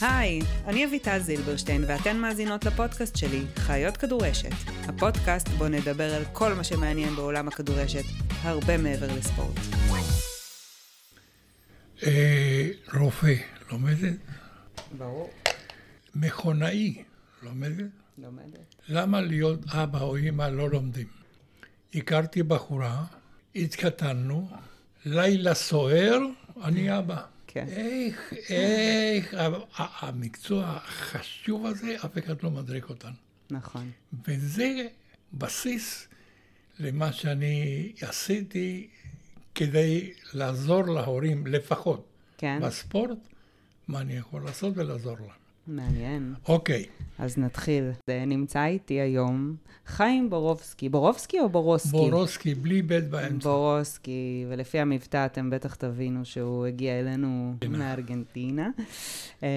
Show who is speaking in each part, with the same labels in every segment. Speaker 1: היי, אני אביטל זילברשטיין ואתן מאזינות לפודקאסט שלי, חיות כדורשת. הפודקאסט בו נדבר על כל מה שמעניין בעולם הכדורשת, הרבה מעבר לספורט.
Speaker 2: אה, רופא, לומדת?
Speaker 1: ברור,
Speaker 2: מכונאי, לומדת?
Speaker 1: לומדת.
Speaker 2: למה להיות אבא או אימא לא לומדים? הכרתי בחורה, התקטנו, לילה סוער, אני אבא.
Speaker 1: כן.
Speaker 2: איך, איך, ה- ה- המקצוע החשוב הזה, אף אחד לא מדריך אותנו.
Speaker 1: נכון.
Speaker 2: וזה בסיס למה שאני עשיתי כדי לעזור להורים, לפחות.
Speaker 1: כן,
Speaker 2: בספורט, מה אני יכול לעשות ולעזור להם.
Speaker 1: מעניין.
Speaker 2: אוקיי,
Speaker 1: אז נתחיל. אה, נמצא איתי היום חיים בורובסקי. בורובסקי או בורוסקי?
Speaker 2: בורוסקי בלי בית באמצע.
Speaker 1: בורוסקי, ולפי המבטא אתם בטח תבינו שהוא הגיע אלינו מארגנטינה, אמ,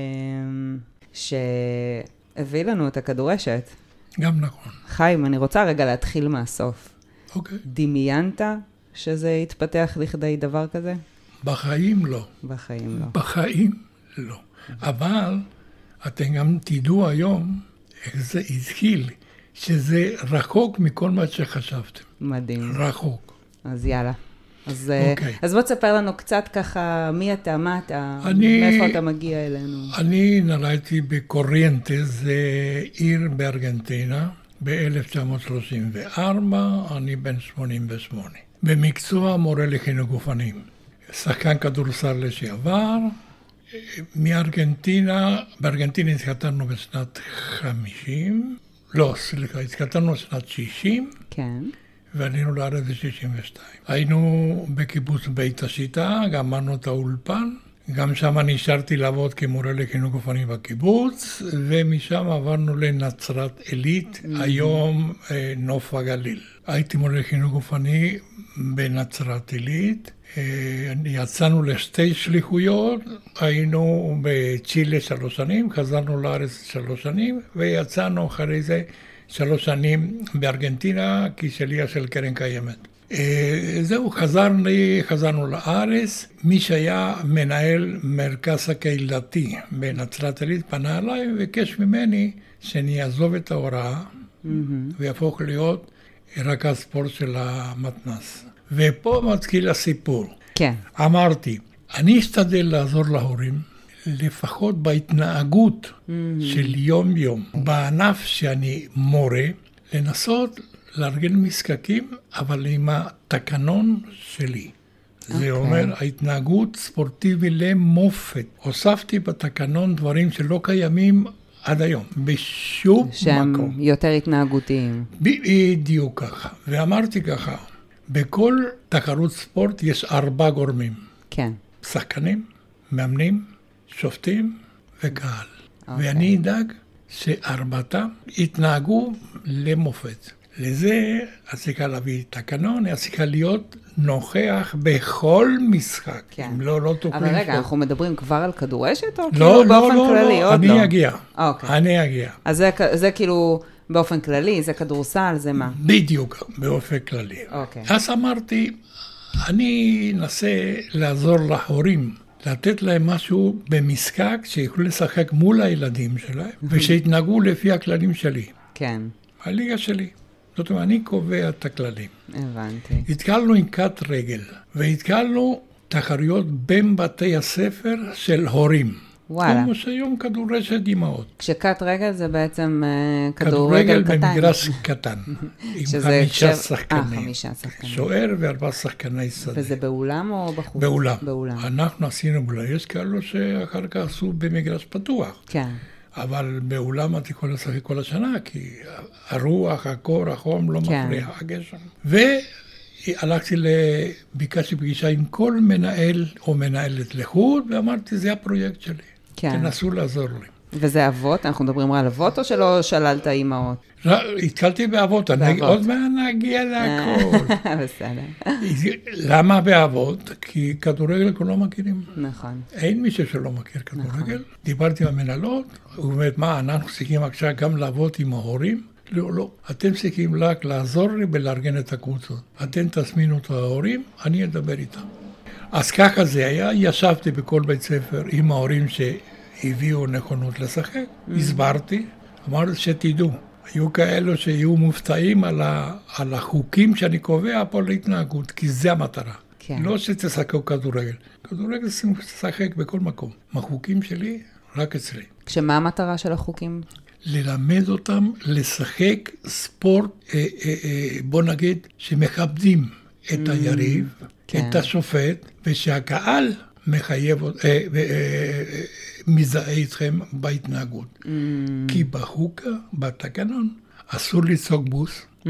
Speaker 1: שהביא לנו את הכדורשת.
Speaker 2: גם נכון.
Speaker 1: חיים, אני רוצה רגע להתחיל מהסוף.
Speaker 2: אוקיי.
Speaker 1: דמיינת שזה יתפתח לכדי דבר כזה?
Speaker 2: בחיים לא.
Speaker 1: בחיים לא.
Speaker 2: בחיים לא. אבל אתם גם תדעו היום איך זה התחיל, שזה רחוק מכל מה שחשבתם.
Speaker 1: מדהים.
Speaker 2: רחוק.
Speaker 1: אז יאללה. אז, אה,
Speaker 2: אוקיי.
Speaker 1: אז בוא תספר לנו קצת ככה מי אתה, מה אתה,
Speaker 2: אני-
Speaker 1: מאיפה אתה מגיע אלינו.
Speaker 2: אני נולדתי בקוריינטס, זה עיר בארגנטינה, ב-1934, אני בן 88. במקצוע מורה לחינוך גופני. שחקן כדורסל לשעבר. אה, מארגנטינה, בארגנטינה התחתנו בשנת 50, לא, סליחה, התחתנו בשנת 60,
Speaker 1: כן,
Speaker 2: ועלינו לארץ ב-62. היינו בקיבוץ בית השיטה, גמרנו את האולפן, גם שם נשארתי לעבוד כמורה לחינוך גופני בקיבוץ, ומשם עברנו לנצרת עילית, היום אה, נוף הגליל. הייתי מורה לחינוך גופני בנצרת עילית, אה, יצאנו לשתי שליחויות, היינו בצ'ילה שלוש שנים, חזרנו לארץ שלוש שנים, ויצאנו אחרי זה שלוש שנים בארגנטינה כשליח של קרן קיימת. אה, זהו, חזרני, חזרנו לארץ. מי שהיה מנהל מרכז הקהילתי בנצרת עילית פנה אליי וביקש ממני שאני אעזוב את ההוראה ויהפוך להיות רכז ספורט של המתנ"ס. ופה מתחיל הסיפור.
Speaker 1: כן,
Speaker 2: אמרתי, אני אשתדל לעזור להורים, לפחות בהתנהגות של יום-יום. בענף שאני מורה, לנסות לארגן משחקים, אבל עם התקנון שלי. זה אומר ההתנהגות ספורטיבי למופת. הוספתי בתקנון דברים שלא קיימים עד היום, בשום
Speaker 1: שהם
Speaker 2: מקום.
Speaker 1: יותר התנהגותיים.
Speaker 2: בדיוק ככה, ואמרתי ככה, בכל תחרות ספורט יש ארבע גורמים,
Speaker 1: כן.
Speaker 2: שחקנים, מאמנים, שופטים וקהל.
Speaker 1: אוקיי.
Speaker 2: ואני אדאג שארבעתם יתנהגו למופת. לזה את צריכה להביא תקנון, את צריכה להיות נוכח בכל משחק.
Speaker 1: כן.
Speaker 2: אם לא, לא תוכלי...
Speaker 1: אבל רגע,
Speaker 2: לשלוט.
Speaker 1: אנחנו מדברים כבר על כדורשת או
Speaker 2: לא,
Speaker 1: כאילו
Speaker 2: לא,
Speaker 1: באופן
Speaker 2: לא,
Speaker 1: כללי?
Speaker 2: לא,
Speaker 1: עוד לא.
Speaker 2: אני אגיע.
Speaker 1: אוקיי.
Speaker 2: אני אגיע.
Speaker 1: אז זה כ- זה כאילו באופן כללי, זה כדורסל, זה מה?
Speaker 2: Mm. בדיוק, באופן כללי.
Speaker 1: אוקיי.
Speaker 2: אז אמרתי, אני אנסה לעזור להורים, לתת להם משהו במשחק שיוכלו לשחק מול הילדים שלהם, ושיתנהגו לפי הכללים שלי,
Speaker 1: כן,
Speaker 2: הליגה שלי. זאת אומרת, אני קובע את הכללים.
Speaker 1: הבנתי.
Speaker 2: התקלנו עם קט רגל, והתקלנו תחרויות בין בתי הספר של הורים.
Speaker 1: וואלה.
Speaker 2: כמו שהיום כדורשת אימהות.
Speaker 1: כשקט רגל זה בעצם אה, כדורגל קטן.
Speaker 2: במגרש קטן. עם
Speaker 1: שזה
Speaker 2: חמישה
Speaker 1: הקשר- אה,
Speaker 2: שחקנים.
Speaker 1: חמישה שחקנים.
Speaker 2: שוער וארבעה שחקני שדה.
Speaker 1: וזה באולם או בחוץ?
Speaker 2: באולם.
Speaker 1: באולם,
Speaker 2: אנחנו עשינו באולם. יש כאלו שאחר כך עשו במגרש פתוח,
Speaker 1: כן.
Speaker 2: אבל באולם אתה יכול לשחק כל השנה, כי הרוח, הקור, החום לא
Speaker 1: כן.
Speaker 2: מפריע, הגשם. והלכתי, ל... ביקשתי פגישה עם כל מנהל או מנהלת לחוד, ואמרתי, זה הפרויקט שלי.
Speaker 1: כן.
Speaker 2: תנסו לעזור לי.
Speaker 1: וזה אבות? אנחנו מדברים על אבות או שלא שללת אימהות?
Speaker 2: ר- התחלתי באבות, אני
Speaker 1: באבות.
Speaker 2: עוד מעט נגיע להכל.
Speaker 1: אה, בסדר,
Speaker 2: למה באבות? כי כדורגל כולם מכירים.
Speaker 1: נכון.
Speaker 2: אין מישהו שלא מכיר כדורגל. דיברתי עם המנהלות, הוא אומר, מה, אנחנו צריכים עכשיו גם לעבוד עם ההורים? לא, לא. אתם צריכים רק לעזור לי ולארגן את הקבוצות. אתם תזמינו את ההורים, אני אדבר איתם. אז ככה זה היה, ישבתי בכל בית ספר עם ההורים שהביאו נכונות לשחק, הסברתי, אמרתי שתדעו, היו כאלו שיהיו מופתעים על, ה, על החוקים שאני קובע פה להתנהגות, כי זה המטרה.
Speaker 1: כן.
Speaker 2: לא שתשחקו כדורגל, כדורגל תשחק בכל מקום. החוקים שלי, רק אצלי.
Speaker 1: כשמה המטרה של החוקים?
Speaker 2: ללמד אותם לשחק ספורט, אה, אה, אה, בוא נגיד, שמכבדים את היריב,
Speaker 1: כן.
Speaker 2: את השופט, ושהקהל מחייב, אות- אה, אה, אה, אה, מזדהה איתכם בהתנהגות. כי בחוקה, בתקנון, אסור לצעוק בוס, Mm.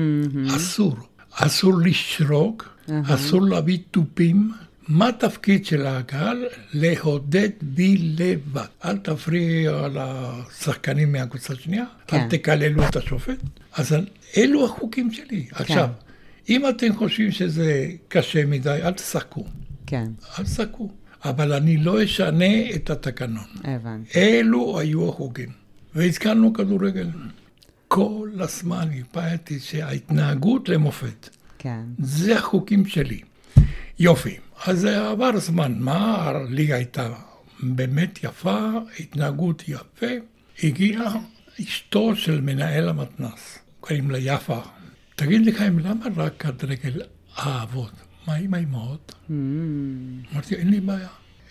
Speaker 2: אסור. אסור לשרוק, אסור להביא תופים. מה התפקיד של הקהל? לעודד בלבד. אל תפריעו לשחקנים מהקבוצה השנייה,
Speaker 1: כן.
Speaker 2: אל תקללו את השופט. אז אלו החוקים שלי. עכשיו, אם אתם חושבים שזה קשה מדי, אל תשחקו.
Speaker 1: כן,
Speaker 2: אל תשחקו. אבל אני לא אשנה את התקנון.
Speaker 1: הבנתי.
Speaker 2: אלו היו החוגים. והזכרנו כדורגל. כל הזמן הפעלתי שההתנהגות למופת.
Speaker 1: כן.
Speaker 2: זה החוקים שלי. יופי. אז עבר זמן, מה? הליגה הייתה באמת יפה, התנהגות יפה. הגיעה אשתו של מנהל המתנ"ס, קוראים לה יפה. תגיד לי, חיים, למה רק כדרגל האבות? מה עם האימהות?
Speaker 1: Mm.
Speaker 2: אמרתי, אין לי בעיה.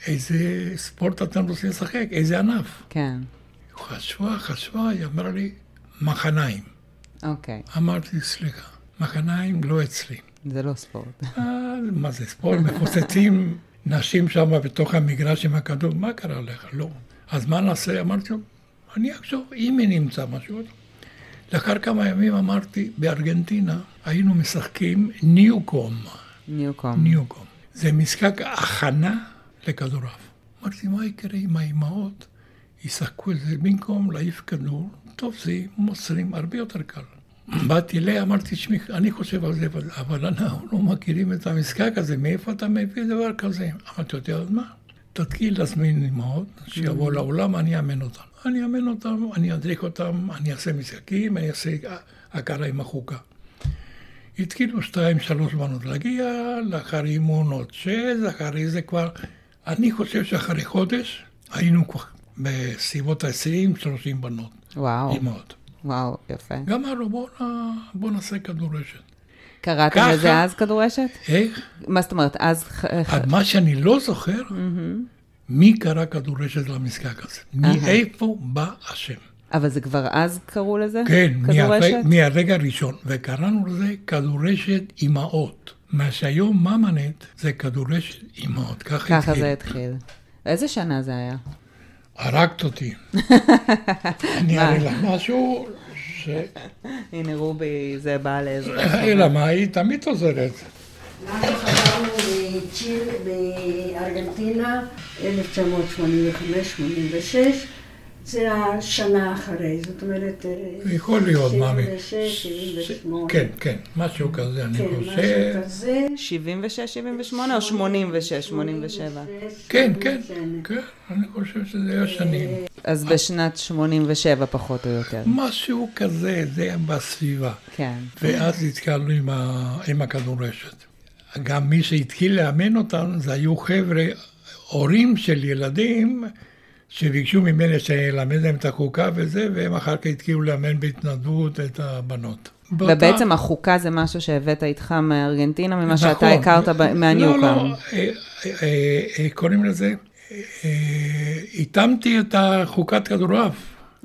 Speaker 2: איזה ספורט אתם רוצים לשחק? איזה ענף?
Speaker 1: כן.
Speaker 2: חשבה, חשבה, היא אמרה לי, מחניים.
Speaker 1: אוקיי.
Speaker 2: אמרתי, סליחה, מחניים לא אצלי.
Speaker 1: זה לא ספורט.
Speaker 2: אה, מה זה ספורט? מפוצצים נשים שם בתוך המגרש עם הכדור, מה קרה לך? לא. אז מה נעשה? אמרתי לו, אני אחשוב, אם היא נמצא משהו. לאחר כמה ימים אמרתי, בארגנטינה היינו משחקים ניוקום.
Speaker 1: ניוקום.
Speaker 2: ניוקום. זה משחק הכנה לכדורעף. אמרתי, מה יקרה אם האימהות ישחקו את זה במקום להעיף כדור, תופסים, מוסרים, הרבה יותר קל. באתי אליה, אמרתי, שמי, אני חושב על זה, אבל- אבל אנחנו לא מכירים את המשחק הזה, מאיפה אתה מביא דבר כזה? אמרתי, אתה יודע מה? תתחיל להזמין אימהות, שיבואו לאולם, אני אאמן אותם. אני אאמן אותם, אני אדריך אותם, אני אעשה משחקים, אני אעשה הכרה עם החוקה. התחילו שתיים, שלוש בנות להגיע, לאחר אימון עוד שש, אחרי זה כבר... אני חושב שאחרי חודש היינו כבר בסביבות ה-20-30 בנות,
Speaker 1: וואו.
Speaker 2: אימהות.
Speaker 1: וואו, יפה.
Speaker 2: גמרנו, בוא, נ- בוא נעשה כדורשת.
Speaker 1: קראתם
Speaker 2: ככה.
Speaker 1: לזה אז כדורשת?
Speaker 2: איך?
Speaker 1: מה זאת אומרת, אז... ח- ח-
Speaker 2: עד מה שאני לא זוכר, מי קרא כדורשת למשחק הזה? מאיפה בא השם?
Speaker 1: אבל זה כבר אז קראו לזה?
Speaker 2: כן, מהרגע,
Speaker 1: כדורשת?
Speaker 2: מהרגע הראשון, וקראנו לזה כדורשת אימהות. מה שהיום ממנט זה כדורשת אימהות, ככה
Speaker 1: ככה
Speaker 2: התחיל.
Speaker 1: זה התחיל. איזה שנה זה היה?
Speaker 2: הרגת אותי. אני אראה לך משהו ש...
Speaker 1: הנה רובי, זה בא לעזרה.
Speaker 2: אלא מה, היא תמיד עוזרת.
Speaker 3: אנחנו חזרנו בצ'יל, בארגנטינה, 1985-86, זה השנה אחרי, זאת אומרת... אה,
Speaker 2: יכול להיות, מאמי.
Speaker 3: 76, 78.
Speaker 2: כן, כן, משהו כזה, אני
Speaker 3: כן,
Speaker 2: חושב.
Speaker 3: משהו כזה.
Speaker 1: 76, 78 או 86, 87?
Speaker 2: כן, כן,
Speaker 3: ναι.
Speaker 2: כן, אני חושב שזה היה שנים.
Speaker 1: אז בשנת 87 פחות או יותר.
Speaker 2: משהו כזה, זה בסביבה.
Speaker 1: כן.
Speaker 2: ואז נתקלנו עם, ה... עם הכדורשת. גם מי שהתחיל לאמן אותם, זה היו חבר'ה, הורים של ילדים, שביקשו ממני שאלמד להם את החוקה וזה, והם אחר כך התחילו לאמן בהתנדבות את הבנות.
Speaker 1: ובעצם החוקה זה משהו שהבאת איתך מארגנטינה, ממה שאתה הכרת ב- מהניוקאם.
Speaker 2: נכון. לא, לא, אה, אה, אה, קוראים לזה, אה, אה, התאמתי את החוקת כדורעף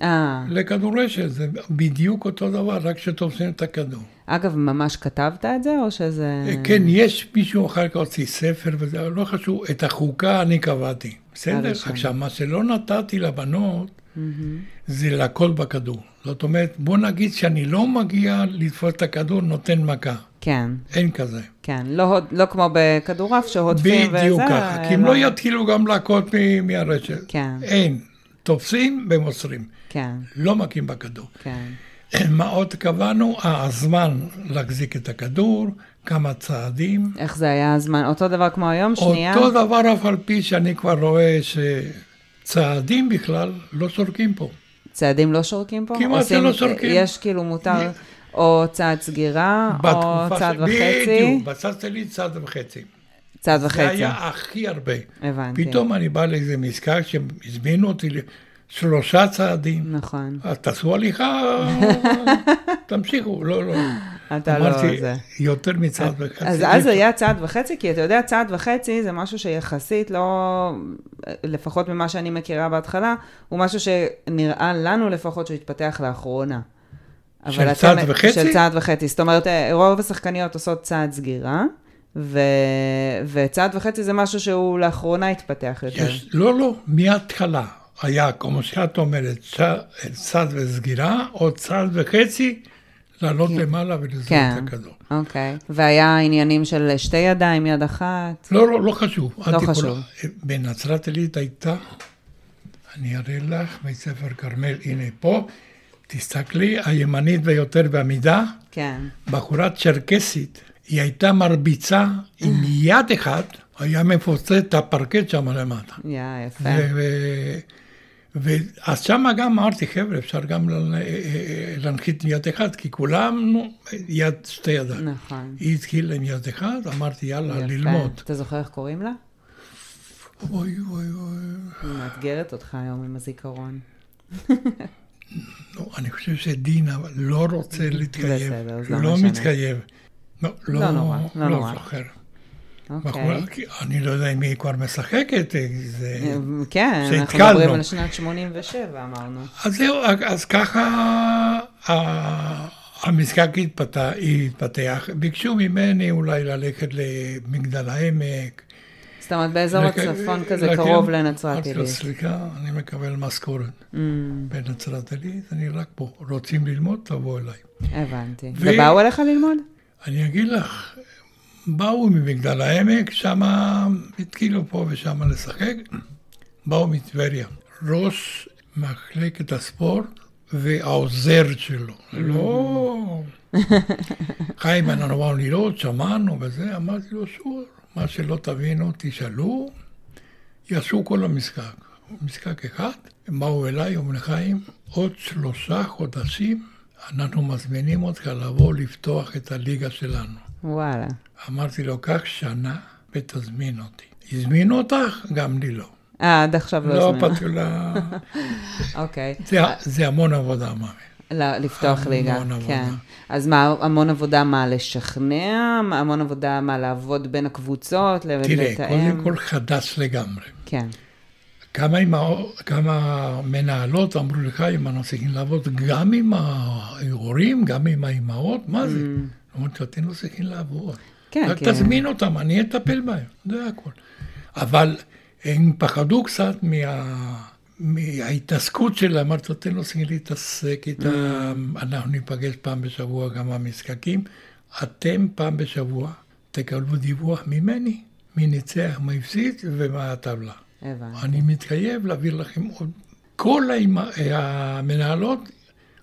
Speaker 1: אה,
Speaker 2: לכדורשת, זה בדיוק אותו דבר, רק שתופסים את הכדור.
Speaker 1: אגב, ממש כתבת את זה, או שזה...
Speaker 2: כן, יש מישהו אחר כך הוציא ספר, וזה אבל לא חשוב, את החוקה אני קבעתי. בסדר?
Speaker 1: הראשון.
Speaker 2: עכשיו, מה שלא נתתי לבנות, זה להכות בכדור. זאת אומרת, בוא נגיד שאני לא מגיע לתפוס את הכדור, נותן מכה.
Speaker 1: כן,
Speaker 2: אין כזה.
Speaker 1: כן. לא, הוד- לא כמו בכדורעף שהודפים וזה.
Speaker 2: בדיוק ככה, כי אם
Speaker 1: אלא-
Speaker 2: לא יתחילו גם להכות מ- מהרשת.
Speaker 1: כן.
Speaker 2: אין. תופסים ומוסרים.
Speaker 1: כן,
Speaker 2: לא מכים בכדור.
Speaker 1: כן.
Speaker 2: מה עוד קבענו? אה, הזמן להחזיק את הכדור, כמה צעדים.
Speaker 1: איך זה היה הזמן? אותו דבר כמו היום? שנייה?
Speaker 2: אותו דבר אף על פי שאני כבר רואה שצעדים בכלל לא סורקים פה.
Speaker 1: צעדים לא שורקים פה?
Speaker 2: כמעט
Speaker 1: עושים-
Speaker 2: שלא שורקים.
Speaker 1: יש כאילו מותר או צעד סגירה, או
Speaker 2: בתקופה
Speaker 1: צעד
Speaker 2: ש-
Speaker 1: וחצי.
Speaker 2: בדיוק, בצד שלי צעד וחצי.
Speaker 1: צעד
Speaker 2: זה
Speaker 1: וחצי. אוקיי.
Speaker 2: היה הכי הרבה.
Speaker 1: הבנתי.
Speaker 2: פתאום אני בא לאיזה משחק שהזמינו אותי לשלושה צעדים.
Speaker 1: נכון.
Speaker 2: אז תעשו הליכה, תמשיכו, לא, לא.
Speaker 1: אתה לא
Speaker 2: אמרתי,
Speaker 1: זה.
Speaker 2: יותר מצעד וחצי.
Speaker 1: אז אז היה צעד וחצי, כי אתה יודע, צעד וחצי זה משהו שיחסית לא, לפחות ממה שאני מכירה בהתחלה, הוא משהו שנראה לנו לפחות שהוא התפתח לאחרונה. אבל
Speaker 2: של
Speaker 1: אתם-
Speaker 2: צעד וחצי?
Speaker 1: של צעד וחצי. זאת אומרת, אה, רוב השחקניות עושות צעד סגירה, ו... וצעד וחצי זה משהו שהוא לאחרונה התפתח יותר.
Speaker 2: יש, לא, לא, מההתחלה היה, כמו שאת אומרת, צ- צד וסגירה, או צד וחצי, לעלות למעלה ולזרוק
Speaker 1: כן.
Speaker 2: את הכדור.
Speaker 1: אוקיי. והיה עניינים של שתי ידיים, יד אחת.
Speaker 2: לא, לא, לא חשוב. את
Speaker 1: לא
Speaker 2: יכולה.
Speaker 1: חשוב.
Speaker 2: בנצרת עילית הייתה, אני אראה לך, בית ספר כרמל, הנה פה, תסתכלי, הימנית ביותר בעמידה,
Speaker 1: כן.
Speaker 2: בחורה צ'רקסית, היא הייתה מרביצה
Speaker 1: אה.
Speaker 2: עם יד אחת, היה מפוצץ את הפרקט שם למטה.
Speaker 1: יא, יפה.
Speaker 2: ו- ו- ו- אז שם גם אמרתי, חבר'ה, אפשר גם ל- אה, להנחית מיד אחת, כי כולם, נו, יד, שתי ידיים.
Speaker 1: נכון.
Speaker 2: היא התחילה עם יד אחת, אמרתי, יאללה,
Speaker 1: יפה.
Speaker 2: ללמוד.
Speaker 1: אתה זוכר איך קוראים לה?
Speaker 2: אוי, אוי, אוי.
Speaker 1: היא מאתגרת אותך היום עם הזיכרון.
Speaker 2: לא, אני חושב שדינה לא רוצה להתקייב,
Speaker 1: בסדר, אז לא
Speaker 2: לא
Speaker 1: משנה.
Speaker 2: מתקייב. לא,
Speaker 1: לא נורא, לא נורא.
Speaker 2: זוכר.
Speaker 1: אוקיי.
Speaker 2: בחורה, כי אני לא יודע אם היא כבר משחקת, אה, זה...
Speaker 1: כן, אנחנו
Speaker 2: שהתקלנו.
Speaker 1: מדברים על שנת 87 אמרנו.
Speaker 2: אז זהו, אז ככה ה- המשחק התפתח, התפתח. ביקשו ממני אולי ללכת למגדל העמק.
Speaker 1: זאת אומרת, באזור
Speaker 2: לק-
Speaker 1: הצפון כזה,
Speaker 2: לקרן-
Speaker 1: קרוב לנצרת
Speaker 2: אמרתי לו,
Speaker 1: עילית. Mm,
Speaker 2: סליחה, אני מקבל משכורת בנצרת עילית, אני רק פה. רוצים ללמוד? תבוא אליי.
Speaker 1: הבנתי.
Speaker 2: ו-
Speaker 1: ובאו אליך ללמוד?
Speaker 2: אני אגיד לך, באו ממגדל העמק, שם התחילו פה ושם לשחק, באו מטבריה. ראש מחלקת הספורט והעוזר שלו, לא... חיים, אנחנו באנו לראות, שמענו וזה, אמרתי לו, שוב, מה שלא תבינו, תשאלו, יעשו כל המשחק. משחק אחד, הם באו אליי, אומרים חיים, עוד שלושה חודשים אנחנו מזמינים אותך לבוא לפתוח את הליגה שלנו.
Speaker 1: וואלה.
Speaker 2: אמרתי לו, קח שנה ותזמין אותי. הזמינו אותך? גם לי לא.
Speaker 1: אה, עד עכשיו לא
Speaker 2: לא
Speaker 1: הזמינו.
Speaker 2: פתחו לה...
Speaker 1: אוקיי.
Speaker 2: זה- זה המון עבודה, מאמי.
Speaker 1: ל- לפתוח
Speaker 2: המון
Speaker 1: ליגה,
Speaker 2: עבודה.
Speaker 1: כן. אז מה, המון עבודה מה לשכנע? מה- המון עבודה מה לעבוד בין הקבוצות? ל-
Speaker 2: תראה,
Speaker 1: לתאם?
Speaker 2: קודם כל חדש לגמרי.
Speaker 1: כן.
Speaker 2: כמה, אימהו- כמה מנהלות אמרו לך, אם אנחנו צריכים לעבוד גם עם ההורים, גם עם האימהות, מה זה?
Speaker 1: Mm.
Speaker 2: אמרתי, אתם לא צריכים לעבוד.
Speaker 1: כן,
Speaker 2: רק
Speaker 1: כי-
Speaker 2: תזמין אותם, אני אטפל בהם, זה הכל. אבל הם פחדו קצת מה... מההתעסקות שלה, אמרתי, אתם לא צריכים להתעסק איתם,
Speaker 1: Mm.
Speaker 2: אנחנו ניפגש פעם בשבוע גם במשחקים. אתם פעם בשבוע תקבלו דיווח ממני, מי ניצח, מה הפסיד ומה הטבלה.
Speaker 1: הבנתי.
Speaker 2: אני מתחייב להעביר לכם עוד. כל האימא- המנהלות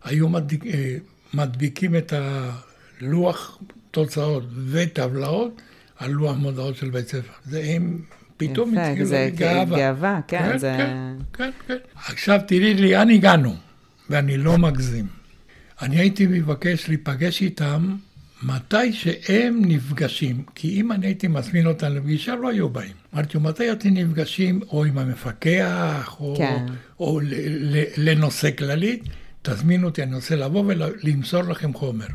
Speaker 2: היו מדביק, אה, מדביקים את הלוח תוצאות וטבלאות על לוח מודעות של בית ספר. זה הם פתאום
Speaker 1: יפה,
Speaker 2: התחילו
Speaker 1: זה
Speaker 2: גאווה.
Speaker 1: גאווה, כן, זה-
Speaker 2: כן, כן, כן. עכשיו תראי לאן הגענו, ואני לא מגזים. אני הייתי מבקש להיפגש איתם מתי שהם נפגשים, כי אם אני הייתי מזמין אותם לפגישה, לא היו באים. אמרתי, מתי אתם נפגשים, או עם המפקח, או,
Speaker 1: כן.
Speaker 2: או ל, ל, לנושא כללי, תזמינו אותי, אני רוצה לבוא ולמסור לכם חומר.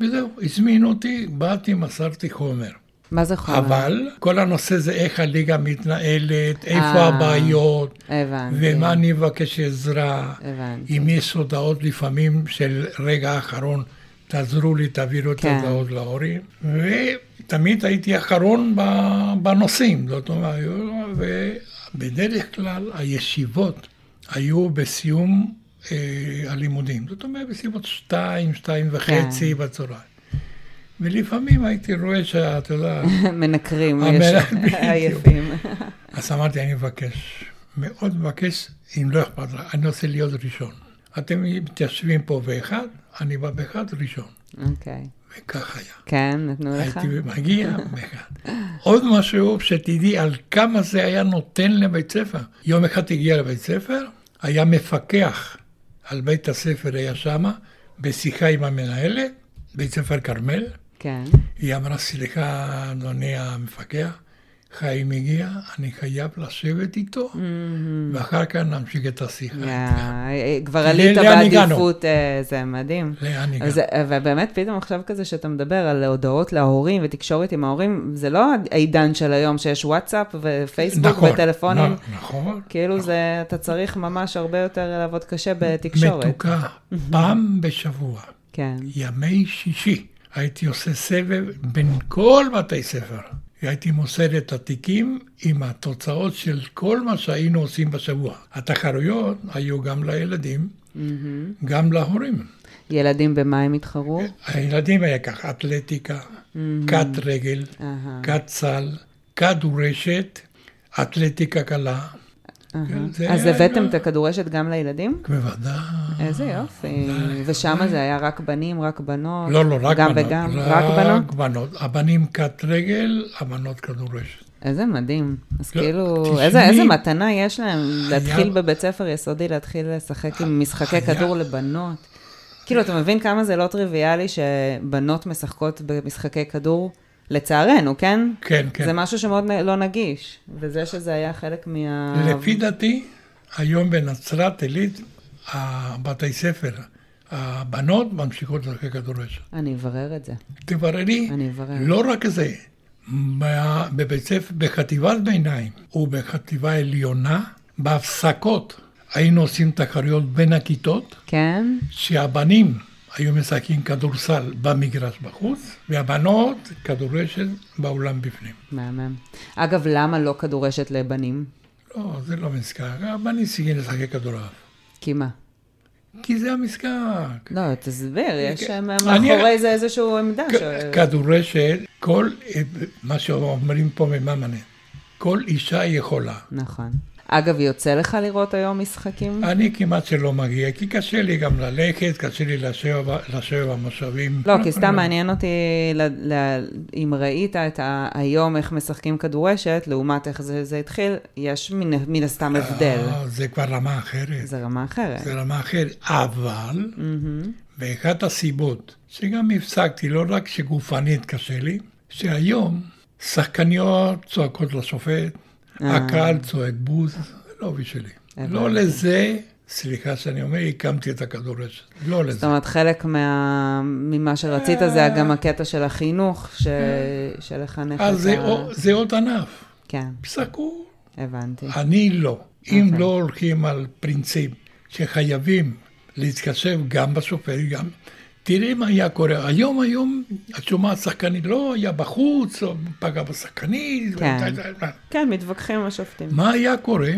Speaker 2: וזהו, הזמינו אותי, באתי, מסרתי חומר.
Speaker 1: מה זה חומר?
Speaker 2: אבל כל הנושא זה איך הליגה מתנהלת, איפה
Speaker 1: אה.
Speaker 2: הבעיות,
Speaker 1: הבנתי.
Speaker 2: ומה אני מבקש עזרה,
Speaker 1: הבנתי.
Speaker 2: אם יש הודעות לפעמים של רגע האחרון, תעזרו לי, תעבירו את
Speaker 1: כן.
Speaker 2: ההודעות להורים. ותמיד הייתי אחרון ב- בנושאים, זאת אומרת, ובדרך כלל הישיבות היו בסיום אה, הלימודים, זאת אומרת בסביבות שתיים, שתיים
Speaker 1: כן.
Speaker 2: וחצי בצהריים. ולפעמים הייתי רואה שאתה יודע,
Speaker 1: מנקרים,
Speaker 2: המנ-
Speaker 1: יש-
Speaker 2: בדיוק.
Speaker 1: עייפים.
Speaker 2: אז אמרתי, אני מבקש, מאוד מבקש, אם לא אכפת לך, אני רוצה להיות ראשון. אתם מתיישבים פה באחד, אני בא באחד ראשון.
Speaker 1: אוקיי.
Speaker 2: וכך היה.
Speaker 1: כן, נתנו לך?
Speaker 2: הייתי מגיע באחד. עוד משהו שתדעי על כמה זה היה נותן לבית ספר. יום אחד הגיע לבית ספר, היה מפקח על בית הספר, היה שמה, בשיחה עם המנהלת, בית ספר כרמל.
Speaker 1: כן.
Speaker 2: היא אמרה, סליחה, אדוני המפקח, חיים הגיע, אני חייב לשבת איתו, ואחר כך נמשיק את השיחה.
Speaker 1: יא, כבר עלית
Speaker 2: כן. לאן הגענו?
Speaker 1: בעדיפות, אה, זה מדהים.
Speaker 2: לאן הגענו?
Speaker 1: אז, אה, ובאמת, פתאום עכשיו כזה שאתה מדבר על הודעות להורים ותקשורת עם ההורים, זה לא העידן של היום שיש וואטסאפ ופייסבוק
Speaker 2: נכון,
Speaker 1: וטלפונים.
Speaker 2: נ- נכון.
Speaker 1: כאילו זה, אתה צריך ממש הרבה יותר לעבוד קשה בתקשורת.
Speaker 2: מתוקה, פעם בשבוע,
Speaker 1: כן.
Speaker 2: ימי שישי, הייתי עושה סבב בין כל בתי ספר. הייתי מוסר את התיקים עם התוצאות של כל מה שהיינו עושים בשבוע. התחרויות היו גם לילדים, גם להורים.
Speaker 1: ילדים במה הם התחרו?
Speaker 2: כן. הילדים היה כך, אתלטיקה,
Speaker 1: Mm-hmm.
Speaker 2: כת רגל,
Speaker 1: אהה.
Speaker 2: כת סל, כדורשת, אתלטיקה קלה. כן, זה
Speaker 1: אז
Speaker 2: היה-
Speaker 1: הבאתם את הכדורשת גם לילדים?
Speaker 2: בוודאי.
Speaker 1: איזה יופי. ושם זה היה רק בנים, רק בנות?
Speaker 2: אה, לא, לא, רק
Speaker 1: גם
Speaker 2: בנות.
Speaker 1: וגם? רק בנות?
Speaker 2: רק בנות. הבנים כת רגל, הבנות כדורשת.
Speaker 1: איזה מדהים. אז
Speaker 2: לא,
Speaker 1: כאילו,
Speaker 2: תשמעי-
Speaker 1: איזה איזה מתנה יש להם להתחיל בבית ספר יסודי, להתחיל לשחק עם משחקי
Speaker 2: היה-
Speaker 1: כדור לבנות. כאילו, אתה מבין כמה זה לא טריוויאלי שבנות משחקות במשחקי כדור? לצערנו, כן?
Speaker 2: כן,
Speaker 1: זה
Speaker 2: כן.
Speaker 1: משהו שמאוד נ- לא נגיש, וזה שזה היה חלק מה...
Speaker 2: לפי דעתי, היום בנצרת עילית, הבתי ספר, הבנות ממשיכות לשחק כדורשת.
Speaker 1: אני אברר את זה,
Speaker 2: תבררי,
Speaker 1: אני אברר.
Speaker 2: לא רק זה, ב- בבית ספר, בחטיבת ביניים ובחטיבה עליונה, בהפסקות היינו עושים תחרויות בין הכיתות,
Speaker 1: כן?
Speaker 2: שהבנים היו משחקים כדורסל במגרש בחוץ, והבנות כדורשת באולם בפנים.
Speaker 1: מהמם. אגב, למה לא כדורשת לבנים?
Speaker 2: לא, זה לא משחק, הבנים סיגים לשחק כדורעף.
Speaker 1: כי מה?
Speaker 2: כי זה המשחק.
Speaker 1: לא, תסביר, יש
Speaker 2: כן.
Speaker 1: שם
Speaker 2: אני-
Speaker 1: מאחורי זה איזושהי עמדה. ש-
Speaker 2: כ- כדורשת, כל, מה שאומרים פה ממאמנה, כל אישה יכולה.
Speaker 1: נכון. אגב, יוצא לך לראות היום משחקים?
Speaker 2: אני כמעט שלא מגיע, כי קשה לי גם ללכת, קשה לי לשבת לשבת במושבים.
Speaker 1: לא, כי סתם מעניין אותי ל- ל- אם ראית את ה- היום איך משחקים כדורשת, לעומת איך זה זה התחיל, יש מן- מן הסתם הבדל.
Speaker 2: אה, זה כבר רמה אחרת.
Speaker 1: זה רמה אחרת.
Speaker 2: זה רמה אחרת. אבל,
Speaker 1: מהמם.
Speaker 2: ואחת הסיבות שגם הפסקתי, לא רק שגופנית קשה לי, שהיום שחקניות צועקות לשופט,
Speaker 1: אה.
Speaker 2: הקהל צועק בוז, זה לא בשבילי.
Speaker 1: הבנתי.
Speaker 2: לא לזה, סליחה שאני אומר, הקמתי את הכדורשת. לא
Speaker 1: זאת
Speaker 2: לזה.
Speaker 1: אומרת, חלק מה... ממה שרצית זה
Speaker 2: אה.
Speaker 1: גם הקטע של החינוך, ש... של לחנך את
Speaker 2: אז אה, זה
Speaker 1: ה...
Speaker 2: עוד- זה עוד ענף.
Speaker 1: כן,
Speaker 2: פסקו.
Speaker 1: הבנתי.
Speaker 2: אני לא. אם
Speaker 1: אוקיי.
Speaker 2: לא הולכים על פרינציפ שחייבים להתחשב גם בשופט, גם... תראי מה היה קורה. היום, היום, את שומעת שחקנית, לא, היה בחוץ, או פגע בשחקנית. לא-
Speaker 1: כן.
Speaker 2: ו-
Speaker 1: כן, מתווכחים עם השופטים.
Speaker 2: מה היה קורה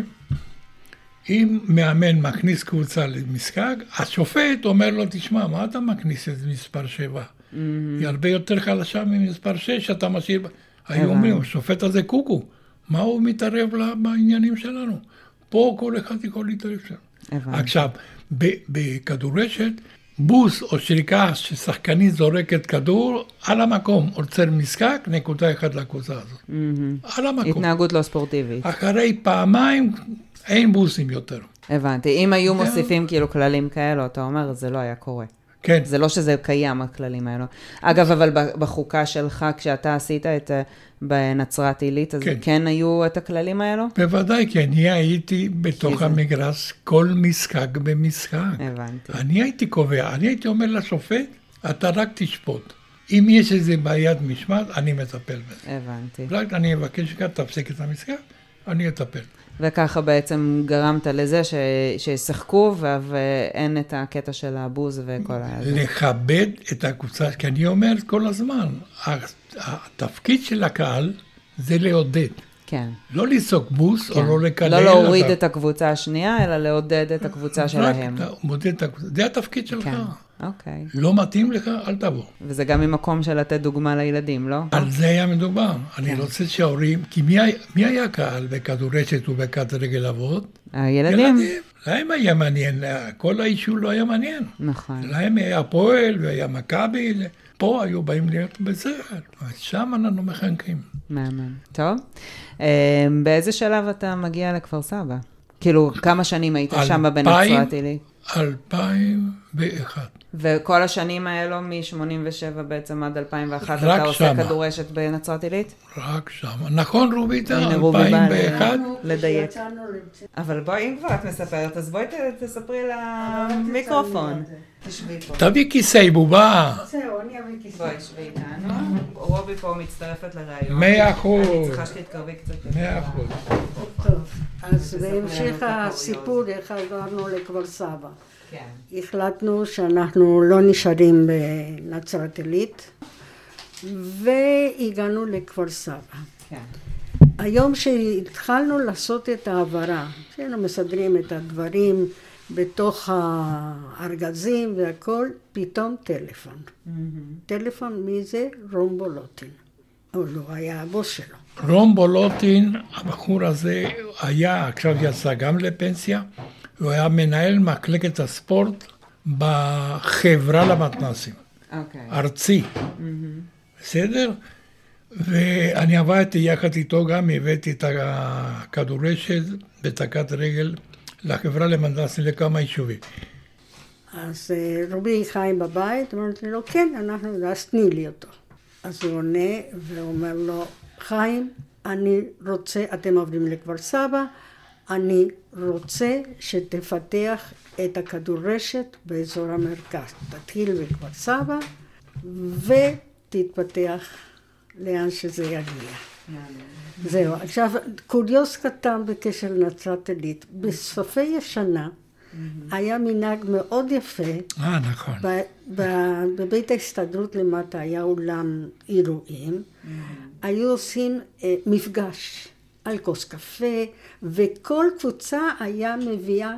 Speaker 2: אם מאמן מכניס קבוצה למשחק, השופט אומר לו, תשמע, מה אתה מכניס את מספר 7? היא הרבה יותר חלשה ממספר 6 שאתה משאיר. ב-" היו
Speaker 1: הבנתי.
Speaker 2: אומרים, השופט הזה קוקו, מה הוא מתערב לה- בעניינים שלנו? פה כל אחד יכול להתערב שם.
Speaker 1: הבנתי.
Speaker 2: עכשיו, ב- בכדורשת, בוס או שריקה ששחקנית זורקת כדור, על המקום, עוצר משחק, נקודה אחת לקבוצה הזאת.
Speaker 1: מהמם.
Speaker 2: על המקום.
Speaker 1: התנהגות לא ספורטיבית.
Speaker 2: אחרי פעמיים אין בוסים יותר.
Speaker 1: הבנתי. אם היו מוסיפים כאילו כללים כאלו, אתה אומר, זה לא היה קורה.
Speaker 2: כן,
Speaker 1: זה לא שזה קיים, הכללים האלו. אגב, אבל ב- בחוקה שלך, כשאתה עשית את... אה, בנצרת עילית, אז
Speaker 2: כן.
Speaker 1: כן היו את הכללים האלו?
Speaker 2: בוודאי, כי אני הייתי בתוך
Speaker 1: זה-
Speaker 2: המגרש כל משחק במשחק.
Speaker 1: אה. הבנתי.
Speaker 2: אני הייתי קובע, אני הייתי אומר לשופט, אתה רק תשפוט. אם יש איזה בעיית משמעת, אני מטפל בזה.
Speaker 1: הבנתי.
Speaker 2: רק אני אבקש לך, תפסיק את המשחק, אני אטפל.
Speaker 1: וככה בעצם גרמת לזה ש... שישחקו, ו... ואין את הקטע של הבוז וכל ה...
Speaker 2: אה, לכבד את הקבוצה, כי אני אומר כל הזמן, ה- התפקיד של הקהל זה לעודד.
Speaker 1: כן.
Speaker 2: לא לצעוק בוס או
Speaker 1: כן.
Speaker 2: לא לקלל.
Speaker 1: לא להוריד
Speaker 2: אבל-
Speaker 1: את הקבוצה השנייה, אלא לעודד את
Speaker 2: לא,
Speaker 1: הקבוצה שלהם.
Speaker 2: רק אתה מודד את הקבוצה, זה התפקיד שלך.
Speaker 1: כן, אוקיי.
Speaker 2: לא מתאים לך, אל תבוא.
Speaker 1: וזה גם ממקום של לתת דוגמה לילדים, לא?
Speaker 2: על זה היה מדובר.
Speaker 1: כן.
Speaker 2: אני רוצה שההורים, כי מי היה- מי היה קהל בכדורשת ובכת רגל אבות?
Speaker 1: הילדים.
Speaker 2: להם היה מעניין, כל האישור לא היה מעניין.
Speaker 1: נכון.
Speaker 2: להם היה הפועל והיה מכבי, פה היו באים להיות בסדר. אז שם אנחנו מחנכים.
Speaker 1: מהמם. טוב. אה, באיזה שלב אתה מגיע לכפר סבא? כאילו, כמה שנים היית שם בנצרת עילית?
Speaker 2: 2001.
Speaker 1: וכל השנים האלו, מ-87 בעצם עד 2001,
Speaker 2: רק
Speaker 1: אתה עושה
Speaker 2: שמה.
Speaker 1: כדורשת בנצרת עילית?
Speaker 2: רק שם. נכון, רוביטה?
Speaker 1: הנה, רובי בא
Speaker 2: 2001?
Speaker 1: אלינו. לדייק.
Speaker 3: כשיצאנו לבצע-
Speaker 1: אבל בואי, אם כבר את מספרת, אז בואי ת- תספרי למיקרופון. תשבי פה.
Speaker 2: תביא כיסא בובה.
Speaker 3: זהו, אני אביא כיסא.
Speaker 1: בואי, שבי איתנו. רובי פה מצטרפת לראיון.
Speaker 2: מאה אחוז.
Speaker 1: אני צריכה שתתקרבי קצת. יותר.
Speaker 2: מאה אחוז.
Speaker 3: טוב, אז בהמשך הסיפור, איך עברנו לכפר סבא.
Speaker 1: כן.
Speaker 3: החלטנו שאנחנו לא נשארים בנצרת עילית, והגענו לכפר סבא.
Speaker 1: כן.
Speaker 3: היום שהתחלנו לעשות את ההעברה, שהיינו מסדרים את הדברים בתוך הארגזים והכל, פתאום טלפון. טלפון מי זה? רום בולוטין. אבל הוא לא היה הבוס שלו.
Speaker 2: רום בולוטין, הבחור הזה היה, עכשיו יצא גם לפנסיה, הוא היה מנהל מחלקת הספורט בחברה למתנ"סים,
Speaker 1: אוקיי.
Speaker 2: ארצי, בסדר? ואני עבדתי יחד איתו גם, הבאתי את הכדורשת בתקת רגל לחברה למתנ"סים לכמה יישובים.
Speaker 3: אז אה, רובי חי בבית, אמרתי לו, כן, אנחנו, אז תני לי אותו. אז הוא עונה ואומר לו, חיים, אני רוצה, אתם עוברים לכפר סבא, אני רוצה שתפתח את הכדורשת באזור המרכז. תתחיל בכפר סבא ותתפתח לאן שזה יגיע. זהו. עכשיו, קוריוז קטן בקשר לנצרת עילית. בסופי השנה היה מנהג מאוד יפה
Speaker 2: אה, נכון.
Speaker 3: ב- ב- בבית ההסתדרות למטה היה אולם אירועים, היו עושים אה, מפגש על כוס קפה, וכל קבוצה היה מביאה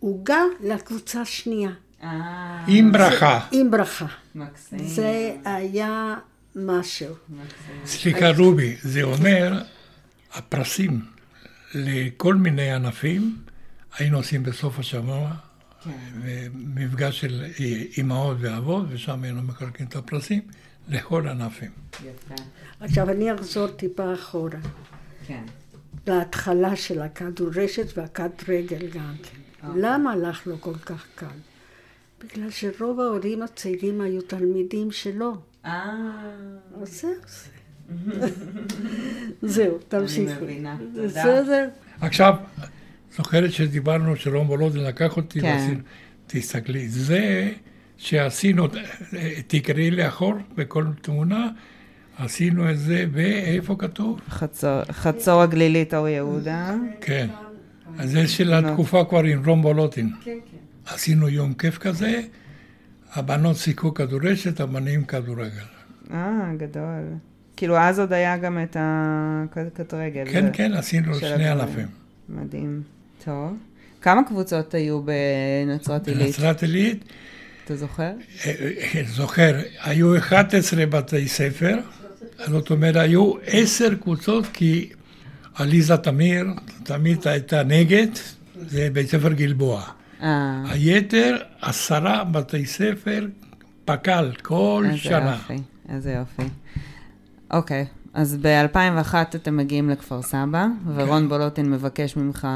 Speaker 3: עוגה לקבוצה השנייה,
Speaker 1: אה,
Speaker 2: עם ברכה.
Speaker 3: עם ברכה.
Speaker 1: מקסים.
Speaker 3: זה היה משהו.
Speaker 1: מקסים.
Speaker 2: סליחה, רובי, זה אומר, הפרסים לכל מיני ענפים, היינו עושים בסוף השבוע,
Speaker 1: כן.
Speaker 2: מפגש של אימהות ואבות, ושם היינו מחלקים את הפרסים לכל ענפים.
Speaker 1: יפה.
Speaker 3: עכשיו אני אחזור טיפה אחורה,
Speaker 1: כן.
Speaker 3: להתחלה של הכדורשת והכת רגל גם כן. למה הלך לו כל כך קל? בגלל שרוב ההורים הצעירים היו תלמידים שלו.
Speaker 1: אה,
Speaker 3: אז זהו זה. זהו, תמשיכו.
Speaker 1: מבינה, תודה.
Speaker 3: בסדר?
Speaker 2: עכשיו, זוכרת שדיברנו שרום בולודין לקח אותי,
Speaker 1: כן.
Speaker 2: ועשינו- תסתכלי, זה שעשינו, תקראי לאחור בכל תמונה, עשינו את זה, ואיפה כתוב?
Speaker 1: חצור- חצור הגלילית, אור יהודה.
Speaker 2: כן. אז זה של
Speaker 1: כן.
Speaker 2: התקופה כבר עם רום בולוטין.
Speaker 3: כן, כן.
Speaker 2: עשינו יום כיף כזה, הבנות שיחקו כדורשת, הבנים כדורגל.
Speaker 1: אה, גדול. כאילו, אז עוד היה גם את הקטקט רגל.
Speaker 2: כן, כן, עשינו
Speaker 1: של
Speaker 2: שני
Speaker 1: הגברים.
Speaker 2: אלפים.
Speaker 1: מדהים. טוב. כמה קבוצות היו בנצרת עילית?
Speaker 2: בנצרת עילית,
Speaker 1: אתה זוכר?
Speaker 2: אה, אה, זוכר, היו 11 בתי ספר, זאת אומרת, היו 10 קבוצות, כי עליזה תמיר תמיד הייתה נגד, זה בית ספר גלבוע.
Speaker 1: אה,
Speaker 2: היתר, עשרה בתי ספר, פק"ל, כל
Speaker 1: איזה
Speaker 2: שנה.
Speaker 1: יופי. איזה יופי. אוקיי, אז ב-2001 אתם מגיעים לכפר סבא,
Speaker 2: אוקיי.
Speaker 1: ורון בולוטין מבקש ממך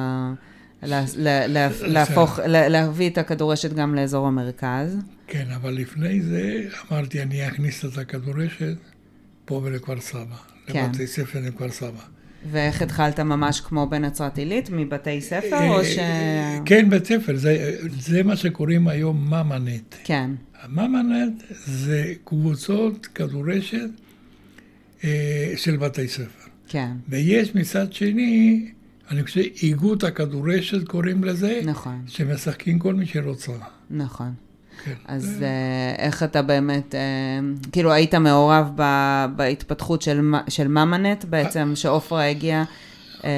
Speaker 1: לה- לה- לה- להפוך, לה- להביא את הכדורשת גם לאזור המרכז.
Speaker 2: כן, אבל לפני זה אמרתי, אני אכניס את הכדורשת פה ולכפר סבא.
Speaker 1: כן.
Speaker 2: לבתי ספר לכפר סבא.
Speaker 1: ואיך התחלת ממש כמו בנצרת עילית, מבתי ספר, או ש...
Speaker 2: אה, כן, בית ספר, זה, זה מה שקוראים היום ממנט.
Speaker 1: כן.
Speaker 2: הממנט זה קבוצות כדורשת אה, של בתי ספר.
Speaker 1: כן,
Speaker 2: ויש מצד שני, אני חושב, איגוד הכדורשת קוראים לזה,
Speaker 1: נכון,
Speaker 2: שמשחקים כל מי שרוצה.
Speaker 1: נכון.
Speaker 2: כן.
Speaker 1: אז אה, איך אתה באמת, אה, כאילו היית מעורב ב- בהתפתחות של מ- של ממנט בעצם, שעופרה הגיעה אה,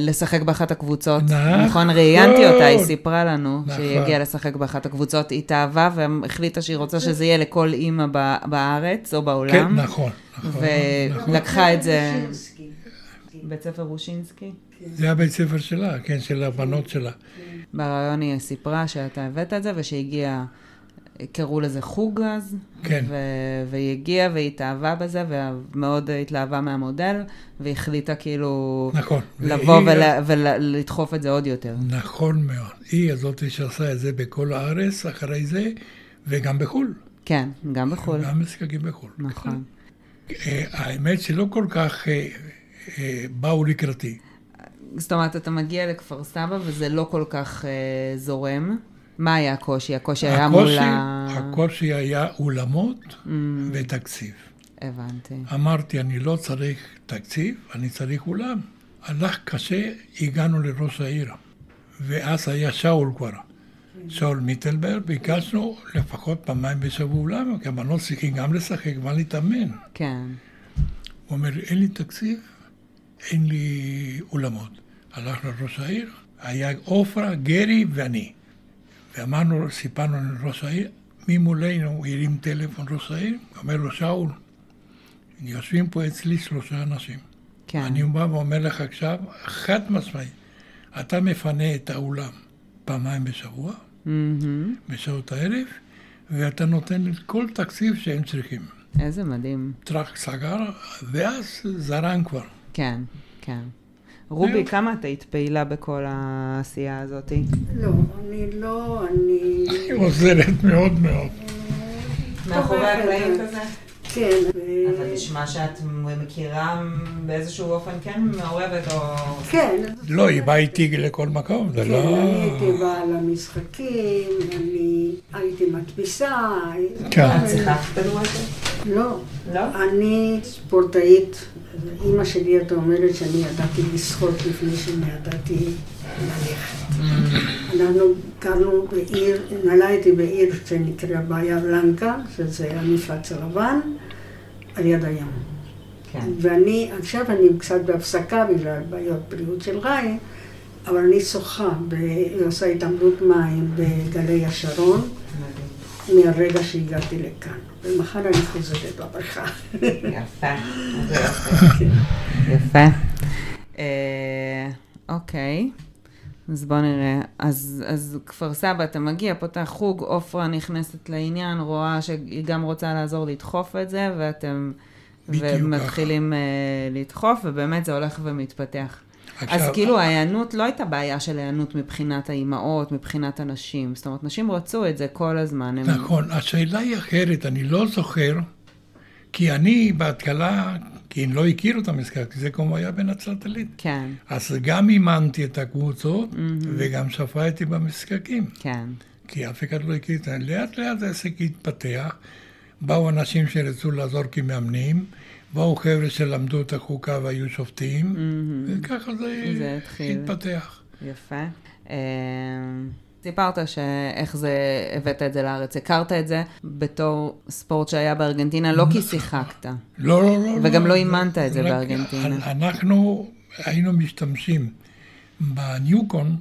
Speaker 1: לשחק באחת הקבוצות,
Speaker 2: נכון. לא.
Speaker 1: נכון? ראיינתי אותה, היא סיפרה לנו שהיא
Speaker 2: נכון.
Speaker 1: הגיעה לשחק באחת הקבוצות, היא תאהבה והחליטה שהיא רוצה שזה יהיה לכל אימא ב- בארץ או
Speaker 2: כן,
Speaker 1: בעולם.
Speaker 2: נכון, נכון.
Speaker 1: ולקחה את זה,
Speaker 3: אוקיי,
Speaker 1: בית ספר רושינסקי.
Speaker 2: זה הבית ספר שלה, כן, של הבנות שלה.
Speaker 1: בריאיון היא סיפרה שאתה הבאת את זה, ושהגיעה קראו לזה חוג אז.
Speaker 2: כן.
Speaker 1: ו- והיא הגיעה והיא התאהבה בזה, ומאוד התלהבה מהמודל, והחליטה כאילו...
Speaker 2: נכון.
Speaker 1: לבוא
Speaker 2: והיא-
Speaker 1: ולה- ולדחוף את זה עוד יותר.
Speaker 2: נכון מאוד. היא הזאתי שעשה את זה בכל הארץ אחרי זה, וגם בחו"ל.
Speaker 1: כן, גם בחו"ל.
Speaker 2: גם משחקים בחו"ל.
Speaker 1: נכון.
Speaker 2: אה, האמת שלא כל כך אה, אה, באו לקראתי.
Speaker 1: זאת אומרת, אתה מגיע לכפר סבא וזה לא כל כך אה, זורם. מה היה הקושי? הקושי היה מול
Speaker 2: הקושי-
Speaker 1: ה...
Speaker 2: הקושי היה אולמות
Speaker 1: Mm,
Speaker 2: ותקציב.
Speaker 1: הבנתי.
Speaker 2: אמרתי, אני לא צריך תקציב, אני צריך אולם. הלך קשה, הגענו לראש העיר, ואז היה שאול כבר. שאול מיטלברג, ביקשנו לפחות פעמיים בשבוע אולם, כי הבנות צריכים גם לשחק, גם להתאמן.
Speaker 1: כן.
Speaker 2: הוא אומר, אין לי תקציב, אין לי אולמות. הלך לראש העיר, היה עופרה, גרי ואני. ואמרנו, סיפרנו לראש העיר, ממולנו הוא הרים טלפון ראש העיר, אומר לו, שאול, יושבים פה אצלי שלושה אנשים.
Speaker 1: כן.
Speaker 2: אני בא ואומר לך עכשיו, חד משמעית, אתה מפנה את האולם פעמיים בשבוע,
Speaker 1: מהמם.
Speaker 2: בשעות הערב, ואתה נותן את כל תקציב שהם צריכים.
Speaker 1: איזה מדהים.
Speaker 2: טראח סגר, ואז זרם כבר.
Speaker 1: כן, כן. רובי,
Speaker 2: זהו.
Speaker 1: כמה את היית פעילה בכל העשייה הזאת?
Speaker 3: לא, אני לא, אני...
Speaker 2: היא עוזרת מאוד מאוד.
Speaker 1: מאחורי
Speaker 3: תומכת.
Speaker 1: הקלעים כזה?
Speaker 3: כן.
Speaker 1: אבל נשמע שאת מכירה באיזשהו אופן כן מעורבת או...
Speaker 3: כן.
Speaker 2: לא, היא באה איתי לכל מקום, זה
Speaker 3: כן,
Speaker 2: לא...
Speaker 3: אני הייתי באה למשחקים, אני הייתי מדפיסה.
Speaker 2: כן.
Speaker 3: אה,
Speaker 1: את שיחקת כדורגל?
Speaker 3: לא.
Speaker 1: לא?
Speaker 3: אני ספורטאית, אימא שלי הייתה אומרת שאני ידעתי לשחות לפני שאני ידעתי ללכת. אנחנו גרנו בעיר, נולדתי בעיר שנקרא בעיה בלנקה, שזה המפלץ הלבן, על יד הים.
Speaker 1: כן.
Speaker 3: ואני, עכשיו אני קצת בהפסקה בגלל בעיות בריאות של חיים, אבל אני שוחה, ב- עושה התעמלות מים בגלי השרון,
Speaker 1: מדהים.
Speaker 3: מהרגע שהגעתי לכאן. ומחר אני חוזרת לבריכה.
Speaker 1: יפה. יפה. אה, אוקיי. אז בוא נראה. אז, אז כפר סבא, אתה מגיע, פותח חוג, עופרה נכנסת לעניין, רואה שהיא גם רוצה לעזור לדחוף את זה, ואתם...
Speaker 2: בדיוק
Speaker 1: ומתחילים אה, לדחוף, ובאמת זה הולך ומתפתח. אז
Speaker 2: עכשיו,
Speaker 1: כאילו ההיענות לא הייתה בעיה של היענות מבחינת האימהות, מבחינת הנשים. זאת אומרת, נשים רצו את זה כל הזמן. הם-
Speaker 2: נכון, השאלה היא אחרת, אני לא זוכר, כי אני בהתחלה, כי אני לא הכיר את המשחק, כי זה כמו היה בנצרת עילית.
Speaker 1: כן,
Speaker 2: אז גם אימנתי את הקבוצות, וגם שפעתי במשחקים,
Speaker 1: כן,
Speaker 2: כי אף אחד לא הכיר את זה. לאט לאט העסק התפתח, באו אנשים שרצו לעזור כמאמנים, באו חבר'ה שלמדו את החוקה והיו שופטים, וככה
Speaker 1: זה
Speaker 2: זה
Speaker 1: התחיל.
Speaker 2: התפתח.
Speaker 1: יפה. אה, סיפרת שאיך זה, הבאת את זה לארץ, הכרת את זה בתור ספורט שהיה בארגנטינה, לא כי שיחקת.
Speaker 2: לא, לא, לא.
Speaker 1: וגם לא
Speaker 2: לא
Speaker 1: אימנת את זה
Speaker 2: רק-
Speaker 1: בארגנטינה.
Speaker 2: אנ- אנחנו היינו משתמשים בניוקון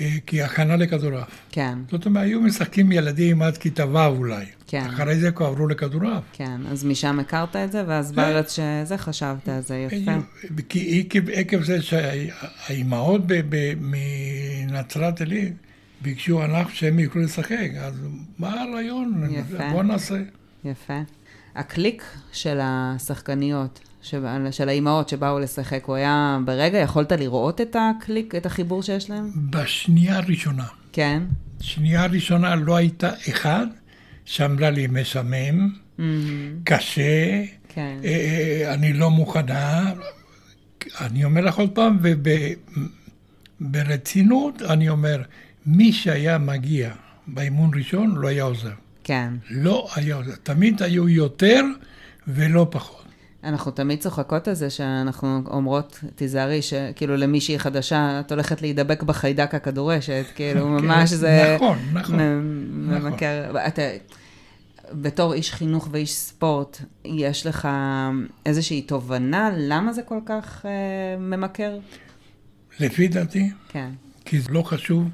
Speaker 2: אה, כהכנה לכדורעף.
Speaker 1: כן,
Speaker 2: זאת אומרת, היו משחקים ילדים עד כיתה ו' אולי.
Speaker 1: כן.
Speaker 2: אחרי זה כבר עברו לכדורעף.
Speaker 1: כן, אז משם הכרת את זה, ואז בארץ שזה חשבת על זה, יפה.
Speaker 2: היו- כי עקב, עקב זה שהאימהות ב- ב- מנצרת עילית ביקשו ענף שהם יוכלו לשחק, אז מה הרעיון?
Speaker 1: יפה.
Speaker 2: בוא נעשה.
Speaker 1: יפה. הקליק של השחקניות, של- של האימהות שבאו לשחק, הוא היה ברגע, יכולת לראות את הקליק, את החיבור שיש להם?
Speaker 2: בשנייה הראשונה.
Speaker 1: כן.
Speaker 2: שנייה ראשונה לא הייתה אחד שאמרה לי משמם,
Speaker 1: מהמם.
Speaker 2: קשה,
Speaker 1: כן,
Speaker 2: אה, אה, אני לא מוכנה. אני אומר לך עוד פעם, וברצינות אני אומר, מי שהיה מגיע באימון ראשון לא היה עוזר.
Speaker 1: כן.
Speaker 2: לא היה עוזר. תמיד היו יותר ולא פחות.
Speaker 1: אנחנו תמיד צוחקות על זה שאנחנו אומרות, תיזהרי, שכאילו למישהי חדשה, את הולכת להידבק בחיידק הכדורשת, כאילו ממש זה...
Speaker 2: כן, נכון, נכון.
Speaker 1: מ-
Speaker 2: נכון.
Speaker 1: ממכר... אתה... בתור איש חינוך ואיש ספורט, יש לך איזושהי תובנה למה זה כל כך אה, ממכר?
Speaker 2: לפי דעתי,
Speaker 1: כן,
Speaker 2: כי זה לא חשוב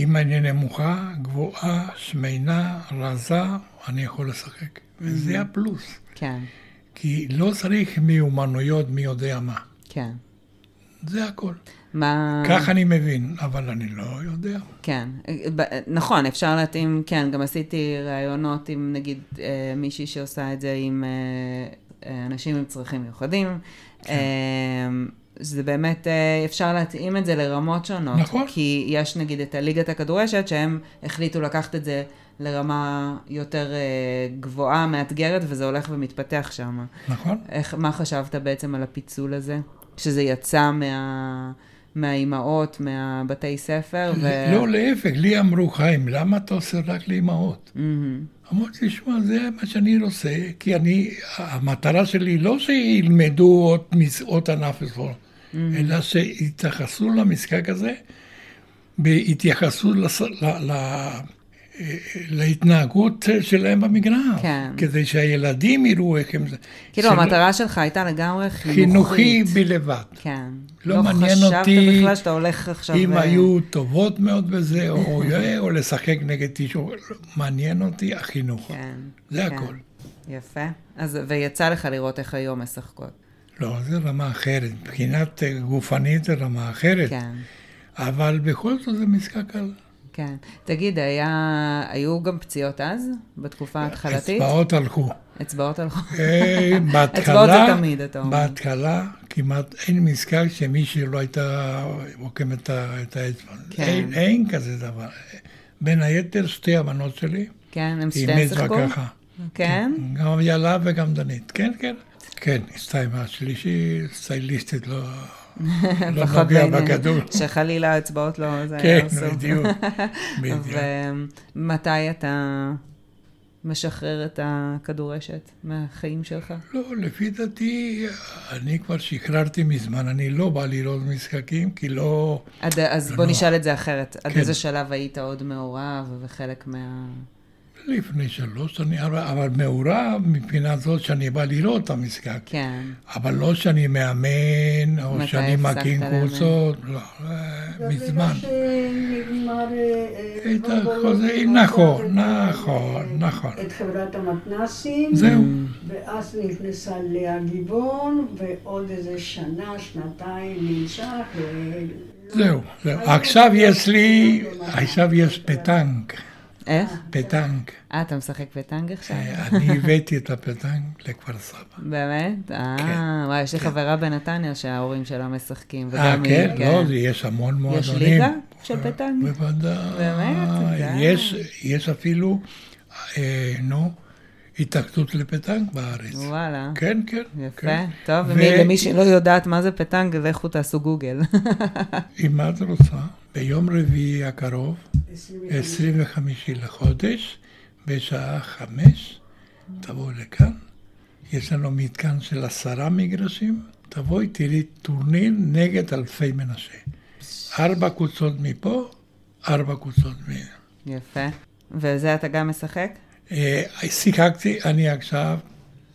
Speaker 2: אם אני נמוכה, גבוהה, שמנה, רזה, אני יכול לשחק. וזה הפלוס.
Speaker 1: כן,
Speaker 2: כי לא צריך מיומנויות מי יודע מה.
Speaker 1: כן.
Speaker 2: זה הכל.
Speaker 1: מה...
Speaker 2: כך אני מבין, אבל אני לא יודע.
Speaker 1: כן, ב- נכון, אפשר להתאים, כן, גם עשיתי ראיונות עם נגיד אה, מישהי שעושה את זה עם אה, אה, אנשים עם צרכים מיוחדים. כן. זה באמת, אה, אפשר להתאים את זה לרמות שונות.
Speaker 2: נכון.
Speaker 1: כי יש נגיד את הליגת הכדורשת, שהם החליטו לקחת את זה לרמה יותר אה, גבוהה, מאתגרת, וזה הולך ומתפתח שם.
Speaker 2: נכון?
Speaker 1: איך, מה חשבת בעצם על הפיצול הזה? שזה יצא מה, מהאימהות, מהבתי ספר? ו...
Speaker 2: לא, להפך, לי אמרו, חיים, למה אתה עושה רק לאימהות?
Speaker 1: מהמם.
Speaker 2: אמרתי, שמע, זה מה שאני רוצה, כי אני, המטרה שלי לא שילמדו עוד, מס- עוד ענף ספורט,
Speaker 1: Mm.
Speaker 2: אלא שיתייחסו למשחק הזה, בהתייחסות לס- ל- ל- אה, להתנהגות שלהם במגרש.
Speaker 1: כן.
Speaker 2: כדי שהילדים יראו איך הם... זה-
Speaker 1: כאילו,
Speaker 2: שלא-
Speaker 1: המטרה שלך הייתה לגמרי חינוכית.
Speaker 2: חינוכי בלבד.
Speaker 1: כן.
Speaker 2: לא מעניין אותי
Speaker 1: חשבת בכלל שאתה הולך עכשיו...
Speaker 2: אם
Speaker 1: אה,
Speaker 2: היו טובות מאוד בזה, או או לשחק נגד מישהו, לא, מעניין אותי החינוך.
Speaker 1: כן.
Speaker 2: זה
Speaker 1: כן.
Speaker 2: הכל.
Speaker 1: יפה. אז, ויצא לך לראות איך היום משחקות.
Speaker 2: לא, זה רמה אחרת. מבחינת אה, גופנית זה רמה אחרת.
Speaker 1: כן.
Speaker 2: אבל בכל זאת זה משחק על
Speaker 1: כן. תגיד, היה... היו גם פציעות אז? בתקופה ההתחלתית?
Speaker 2: אה, אצבעות הלכו.
Speaker 1: אצבעות הלכו.
Speaker 2: אה,
Speaker 1: אצבעות
Speaker 2: בהתחלה,
Speaker 1: זה תמיד, אתה אומר.
Speaker 2: בהתחלה כמעט אין משחק שמישהי לא הייתה מוקמת את האצבע.
Speaker 1: כן.
Speaker 2: אין- אין כזה דבר. בין היתר שתי הבנות שלי,
Speaker 1: כן, הם
Speaker 2: עם
Speaker 1: שתיהן
Speaker 2: אצבע
Speaker 1: שיחקו?
Speaker 2: ככה.
Speaker 1: כן?
Speaker 2: גם יאללה וגם דנית, כן, כן. כן, הסתיים השלישי, סטייליסטית לא, לא
Speaker 1: פחות
Speaker 2: נוגע
Speaker 1: בעניין.
Speaker 2: בכדור.
Speaker 1: שחלילה האצבעות לא... זה
Speaker 2: כן,
Speaker 1: אסור.
Speaker 2: בדיוק, בדיוק.
Speaker 1: ומתי אתה משחרר את הכדורשת מהחיים שלך?
Speaker 2: לא, לפי דעתי, אני כבר שחררתי מזמן, אני לא בא לראות משחקים, כי לא...
Speaker 1: עד, אז
Speaker 2: לא
Speaker 1: בוא
Speaker 2: נורא.
Speaker 1: נשאל את זה אחרת. עד
Speaker 2: כן.
Speaker 1: איזה שלב היית עוד מעורב וחלק מה...
Speaker 2: לפני שלוש שנים, אבל- אבל מעורב מבחינה זאת שאני בא לראות את המשחק.
Speaker 1: כן,
Speaker 2: אבל לא שאני מאמן, או
Speaker 1: מתי
Speaker 2: שאני
Speaker 1: הפסקת
Speaker 2: מקים
Speaker 1: לאמן?
Speaker 2: קבוצות, לא, אה, מזמן.
Speaker 3: שנגמר... אה,
Speaker 2: את החוזה, נכון, נכון, נכון.
Speaker 3: את חברת המתנ"סים,
Speaker 2: זהו.
Speaker 3: ואז נכנסה לאה גיבון, ועוד איזה שנה, שנתיים נמשך, ו-
Speaker 2: זהו, זהו. עכשיו יש לי, עכשיו יש פטנק,
Speaker 1: איך?
Speaker 2: פטנק.
Speaker 1: אה, אתה משחק בטנג עכשיו?
Speaker 2: אה, אני הבאתי את הפטנק לכפר סבא.
Speaker 1: באמת? אה,
Speaker 2: כן.
Speaker 1: וואי, יש לי חברה בנתניה שההורים שלה משחקים.
Speaker 2: אה,
Speaker 1: וגם היא,
Speaker 2: כן? לא, זה- יש המון מועדונים. אה,
Speaker 1: ליגה של פטנק?
Speaker 2: בוודאי.
Speaker 1: באמת? די.
Speaker 2: יש, יש אפילו, אה, נו, התאחדות לפטנק בארץ.
Speaker 1: וואלה.
Speaker 2: כן, כן.
Speaker 1: יפה,
Speaker 2: כן.
Speaker 1: טוב,
Speaker 2: ו-
Speaker 1: ומי- למי שלא יודעת מה זה פטנג, לכו תעשו גוגל.
Speaker 2: אם מה את רוצה, ביום רביעי הקרוב, 25 לחודש, בשעה חמש, תבואו לכאן. יש לנו מתקן של עשרה מגרשים, תבואי, תראי טורניר נגד אלפי מנשה. ארבע קבוצות מפה, ארבע קבוצות מ...
Speaker 1: יפה. וזה אתה גם משחק?
Speaker 2: אה, שיחקתי, אני עכשיו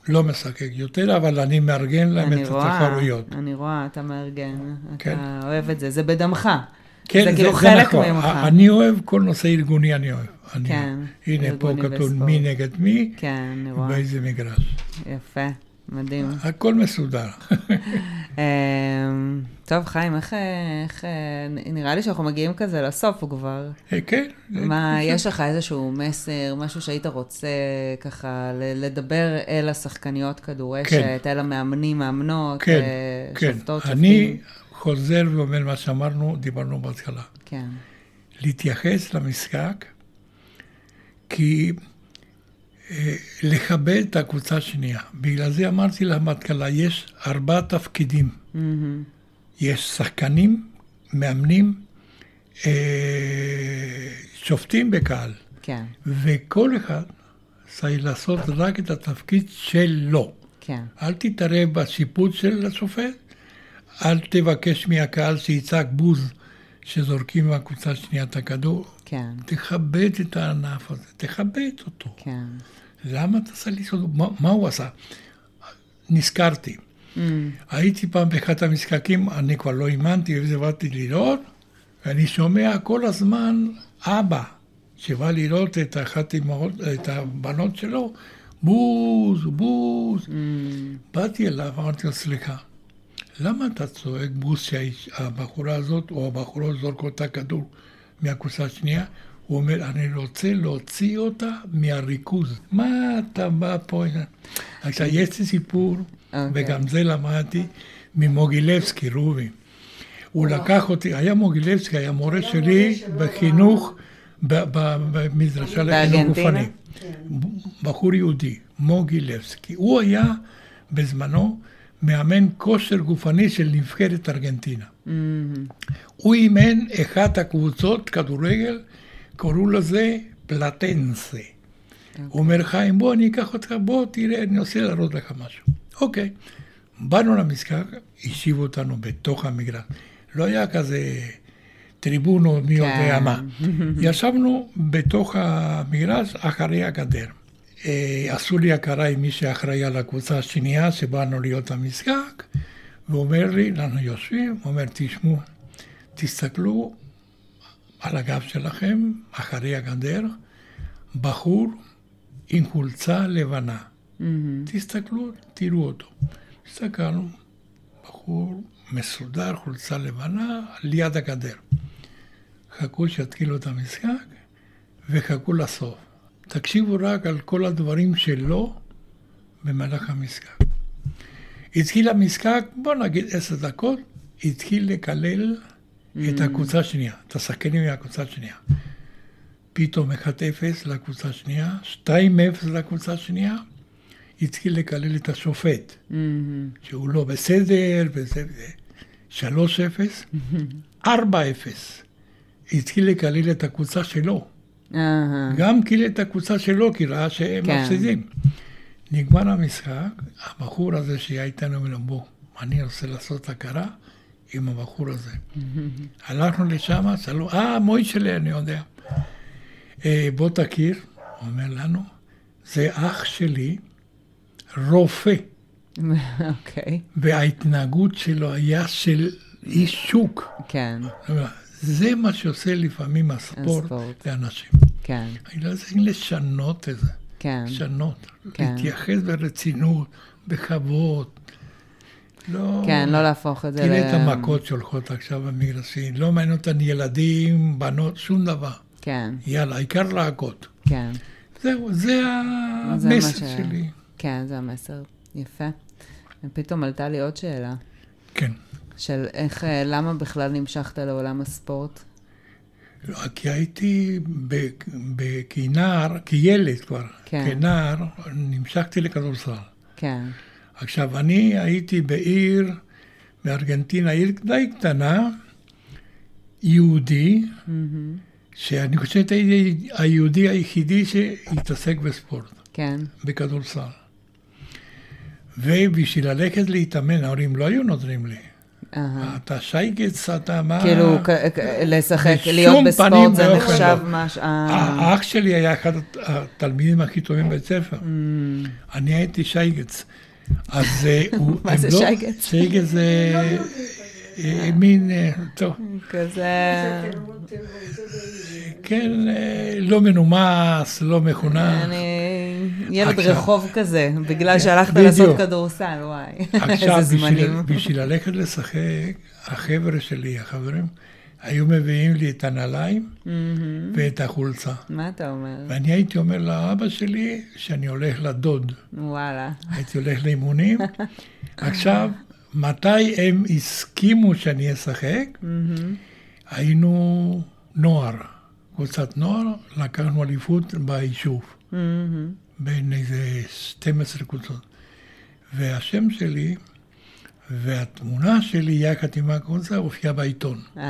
Speaker 2: לא משחק יותר, אבל אני מארגן להם
Speaker 1: אני
Speaker 2: את
Speaker 1: רואה,
Speaker 2: התחרויות.
Speaker 1: אני רואה, אתה מארגן,
Speaker 2: כן.
Speaker 1: אתה אוהב את זה, זה בדמך.
Speaker 2: כן,
Speaker 1: זה כאילו חלק ממך.
Speaker 2: א- אני אוהב כל נושא ארגוני, אני אוהב. אני
Speaker 1: כן,
Speaker 2: אוהב. הנה, פה
Speaker 1: ארגוני
Speaker 2: כתוב
Speaker 1: וספורט.
Speaker 2: מי נגד מי,
Speaker 1: כן, אני רואה,
Speaker 2: באיזה מגרש.
Speaker 1: יפה, מדהים.
Speaker 2: הכל מסודר.
Speaker 1: אמ, טוב, חיים, איך, אה, איך, אה, נראה לי שאנחנו מגיעים כזה לסוף כבר.
Speaker 2: אה, כן.
Speaker 1: מה, יש לך איזשהו מסר, משהו שהיית רוצה ככה ל- לדבר אל השחקניות כדורשת, אל המאמנים, מאמנות,
Speaker 2: כן,
Speaker 1: אה,
Speaker 2: כן.
Speaker 1: שופטות,
Speaker 2: אני
Speaker 1: שופטים?
Speaker 2: חוזר ואומר מה שאמרנו, דיברנו בהתחלה.
Speaker 1: כן,
Speaker 2: להתייחס למשחק, כי אה, לכבד את הקבוצה השנייה. בגלל זה אמרתי לה בהתחלה, יש ארבעה תפקידים.
Speaker 1: מהמם.
Speaker 2: יש שחקנים, מאמנים, אה, שופטים בקהל,
Speaker 1: כן,
Speaker 2: וכל אחד צריך לעשות רק את התפקיד שלו.
Speaker 1: כן,
Speaker 2: אל תתערב בשיפוט של השופט, אל תבקש מהקהל שיצעק בוז שזורקים מהקבוצה השנייה את הכדור.
Speaker 1: כן,
Speaker 2: תכבד את הענף הזה, תכבד אותו.
Speaker 1: כן.
Speaker 2: למה אתה עשה לי סודות? מה, מה הוא עשה? נזכרתי.
Speaker 1: אמ,
Speaker 2: הייתי פעם באחד המשחקים, אני כבר לא האמנתי, וזה באתי לראות, ואני שומע כל הזמן אבא שבא לראות את אחת אמהות, את הבנות שלו, בוז, בוז.
Speaker 1: אמ,
Speaker 2: באתי אליו, אמרתי לו, סליחה, למה אתה צועק, ברוסיה, הבחורה הזאת או הבחורה זורק אותה כדור מהכוסה השנייה? הוא אומר, אני רוצה להוציא אותה מהריכוז. מה אתה בא פה? עכשיו, יש לי סיפור,
Speaker 1: אוקיי.
Speaker 2: וגם זה למדתי, ממוגילבסקי, רובי. הוא לקח אותי, היה מוגילבסקי, היה מורה שלי בחינוך, ב- ב- במדרשה לחינוך
Speaker 1: בארגנטינה?
Speaker 2: גופני. בחור יהודי, מוגילבסקי. הוא היה בזמנו מאמן כושר גופני של נבחרת ארגנטינה. הוא אימן אחת הקבוצות כדורגל, קראו לזה פלטנסה. הוא אומר, חיים, בוא, אני אקח אותך, בוא, תראה, אני רוצה להראות לך משהו. אוקיי. באנו למשחק, השיבו אותנו בתוך המגרש. לא היה כזה טריבונו מי יודע
Speaker 1: כן.
Speaker 2: מה. ישבנו בתוך המגרש אחרי הגדר. אה, עשו לי הכרה עם מי שאחראי על הקבוצה השנייה שבאנו להיות למשחק, ואומר לי, אנחנו יושבים, אומר, תשמעו, תסתכלו על הגב שלכם, אחרי הגדר, בחור עם חולצה לבנה. תסתכלו, תראו אותו. הסתכלנו, בחור מסודר, חולצה לבנה, ליד הגדר. חכו שיתחילו את המשחק, וחכו לסוף. תקשיבו רק על כל הדברים שלו במהלך המשחק. התחיל המשחק, בוא נגיד עשר דקות, התחיל לקלל את הקבוצה השנייה, את השחקנים מהקבוצה השנייה. פתאום 1-0 לקבוצה השנייה, 2-0 לקבוצה השנייה, התחיל לקלל את השופט,
Speaker 1: Mm-hmm.
Speaker 2: שהוא לא בסדר, וזה וזה. 3-0, 4-0, התחיל לקלל את הקבוצה שלו.
Speaker 1: אהה.
Speaker 2: גם קילל את הקבוצה שלו, כי ראה שהם
Speaker 1: כן.
Speaker 2: מפסידים. נגמר המשחק, הבחור הזה שהיה איתנו אומר, בוא, אני רוצה לעשות הכרה עם הבחור הזה. הלכנו לשם, שאלו, אה, מוישלה, אני יודע. "אה, בוא תכיר, הוא אומר לנו, זה אח שלי, רופא,
Speaker 1: אוקיי,
Speaker 2: וההתנהגות שלו היה של איש שוק.
Speaker 1: כן,
Speaker 2: זה מה שעושה לפעמים הספורט
Speaker 1: הספורט.
Speaker 2: לאנשים.
Speaker 1: כן,
Speaker 2: אני לא צריך לשנות את זה.
Speaker 1: כן.
Speaker 2: לשנות,
Speaker 1: כן.
Speaker 2: להתייחס ברצינות, בכבוד. לא...
Speaker 1: כן, לא להפוך את זה
Speaker 2: תראה את המכות שהולכות עכשיו במגרשים, לא מעניין אותן ילדים, בנות, שום דבר.
Speaker 1: כן,
Speaker 2: יאללה, העיקר להכות.
Speaker 1: כן.
Speaker 2: זהו, זה
Speaker 1: זה מה
Speaker 2: המסר
Speaker 1: ש-
Speaker 2: שלי.
Speaker 1: כן, זה המסר. יפה. ופתאום עלתה לי עוד שאלה,
Speaker 2: כן.
Speaker 1: של איך, אה, למה בכלל נמשכת לעולם הספורט?
Speaker 2: לא, כי הייתי ב- ב- כנער, כילד כבר,
Speaker 1: כן.
Speaker 2: כנער, נמשכתי לכדורסל.
Speaker 1: כן,
Speaker 2: עכשיו, אני הייתי בעיר, בארגנטינה, עיר די קטנה, יהודי,
Speaker 1: Mm-hmm.
Speaker 2: שאני חושב שהייתי היהודי היחידי שהתעסק בספורט,
Speaker 1: כן,
Speaker 2: בכדורסל. ובשביל ללכת להתאמן, ההורים לא היו נותנים לי.
Speaker 1: אהה.
Speaker 2: אתה שייקץ, אתה מה...
Speaker 1: אה. Uh-huh. כאילו, כ- כ- לשחק,
Speaker 2: בשום
Speaker 1: להיות בספורט
Speaker 2: פנים
Speaker 1: זה
Speaker 2: ואופן
Speaker 1: נחשב
Speaker 2: לא.
Speaker 1: מש... אה,
Speaker 2: האח שלי היה אחד התלמידים הכי טובים בבית ספר.
Speaker 1: Mm.
Speaker 2: אני הייתי שייגץ. אז אה, הוא...
Speaker 1: מה
Speaker 2: הם
Speaker 1: זה לא,
Speaker 2: לא-
Speaker 1: שייגץ?
Speaker 2: שייגץ זה אה, מין... אה, טוב,
Speaker 1: כזה...
Speaker 3: כאילו
Speaker 2: כן, אה, לא מנומס, לא מחונך.
Speaker 1: אני ילד
Speaker 2: עכשיו-
Speaker 1: רחוב כזה, בגלל שהלכת
Speaker 2: בדיוק.
Speaker 1: לעשות כדורסל, וואי.
Speaker 2: עכשיו,
Speaker 1: איזה
Speaker 2: בשביל,
Speaker 1: זמנים.
Speaker 2: בשביל ללכת לשחק, החבר'ה שלי, החברים, היו מביאים לי את הנעליים ואת החולצה.
Speaker 1: מה אתה אומר?
Speaker 2: ואני הייתי אומר לאבא שלי שאני הולך לדוד.
Speaker 1: וואלה.
Speaker 2: הייתי הולך לאימונים. עכשיו, מתי הם הסכימו שאני אשחק? היינו נוער, קבוצת נוער, לקחנו אליפות ביישוב,
Speaker 1: מהמם.
Speaker 2: בין איזה 12 קבוצות. והשם שלי והתמונה שלי יחד עם הקבוצה הופיעה בעיתון.
Speaker 1: אה,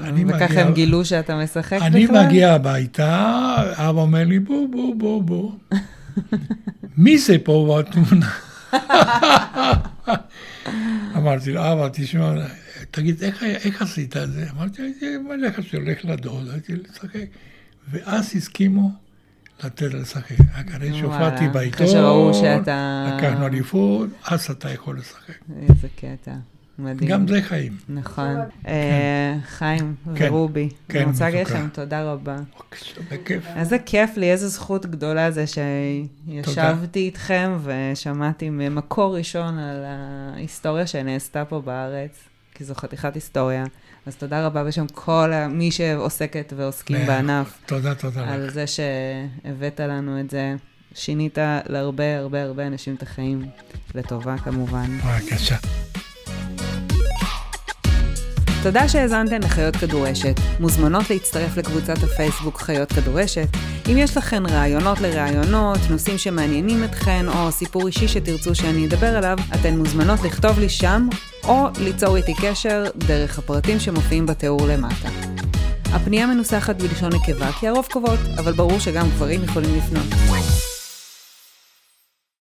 Speaker 2: אני
Speaker 1: וככה
Speaker 2: מגיע-
Speaker 1: הם גילו שאתה משחק בכלל?
Speaker 2: אני מגיע הביתה, אבא אומר לי, בוא, בוא, בוא, בוא. מי זה פה בתמונה? אמרתי לו, אבא, תשמע, תגיד, איך, איך עשית את זה? אמרתי, הייתי מלך שהולך לדוד, הייתי לשחק. ואז הסכימו לתת לשחק. רק אחרי שהופעתי
Speaker 1: וואלה, אחרי
Speaker 2: בעיתון,
Speaker 1: שראו שאתה-
Speaker 2: לקחנו אליפות, אז אתה יכול לשחק.
Speaker 1: איזה קטע. מדהים.
Speaker 2: גם זה חיים.
Speaker 1: נכון. אה, חיים
Speaker 2: כן.
Speaker 1: ורובי,
Speaker 2: כן,
Speaker 1: אני רוצה להגיד
Speaker 2: מצוקה.
Speaker 1: לכם תודה רבה.
Speaker 2: בכיף.
Speaker 1: איזה כיף לי, איזה זכות גדולה זה שישבתי איתכם ושמעתי ממקור ראשון על ההיסטוריה שנעשתה פה בארץ, כי זו חתיכת היסטוריה. אז תודה רבה בשם כל ה- מי שעוסקת ועוסקים
Speaker 2: מאה
Speaker 1: כן, בענף,
Speaker 2: אחוז. תודה, תודה
Speaker 1: על
Speaker 2: לך.
Speaker 1: זה שהבאת לנו את זה. שינית להרבה הרבה הרבה אנשים את החיים, לטובה כמובן.
Speaker 2: בבקשה.
Speaker 1: תודה שהאזנתן לחיות כדורשת. מוזמנות להצטרף לקבוצת הפייסבוק חיות כדורשת. אם יש לכן רעיונות לרעיונות, נושאים שמעניינים אתכן, או סיפור אישי שתרצו שאני אדבר עליו, אתן מוזמנות לכתוב לי שם, או ליצור איתי קשר דרך הפרטים שמופיעים בתיאור למטה. הפנייה מנוסחת בלשון נקבה, כי הרוב קובעות, אבל ברור שגם גברים יכולים לפנות.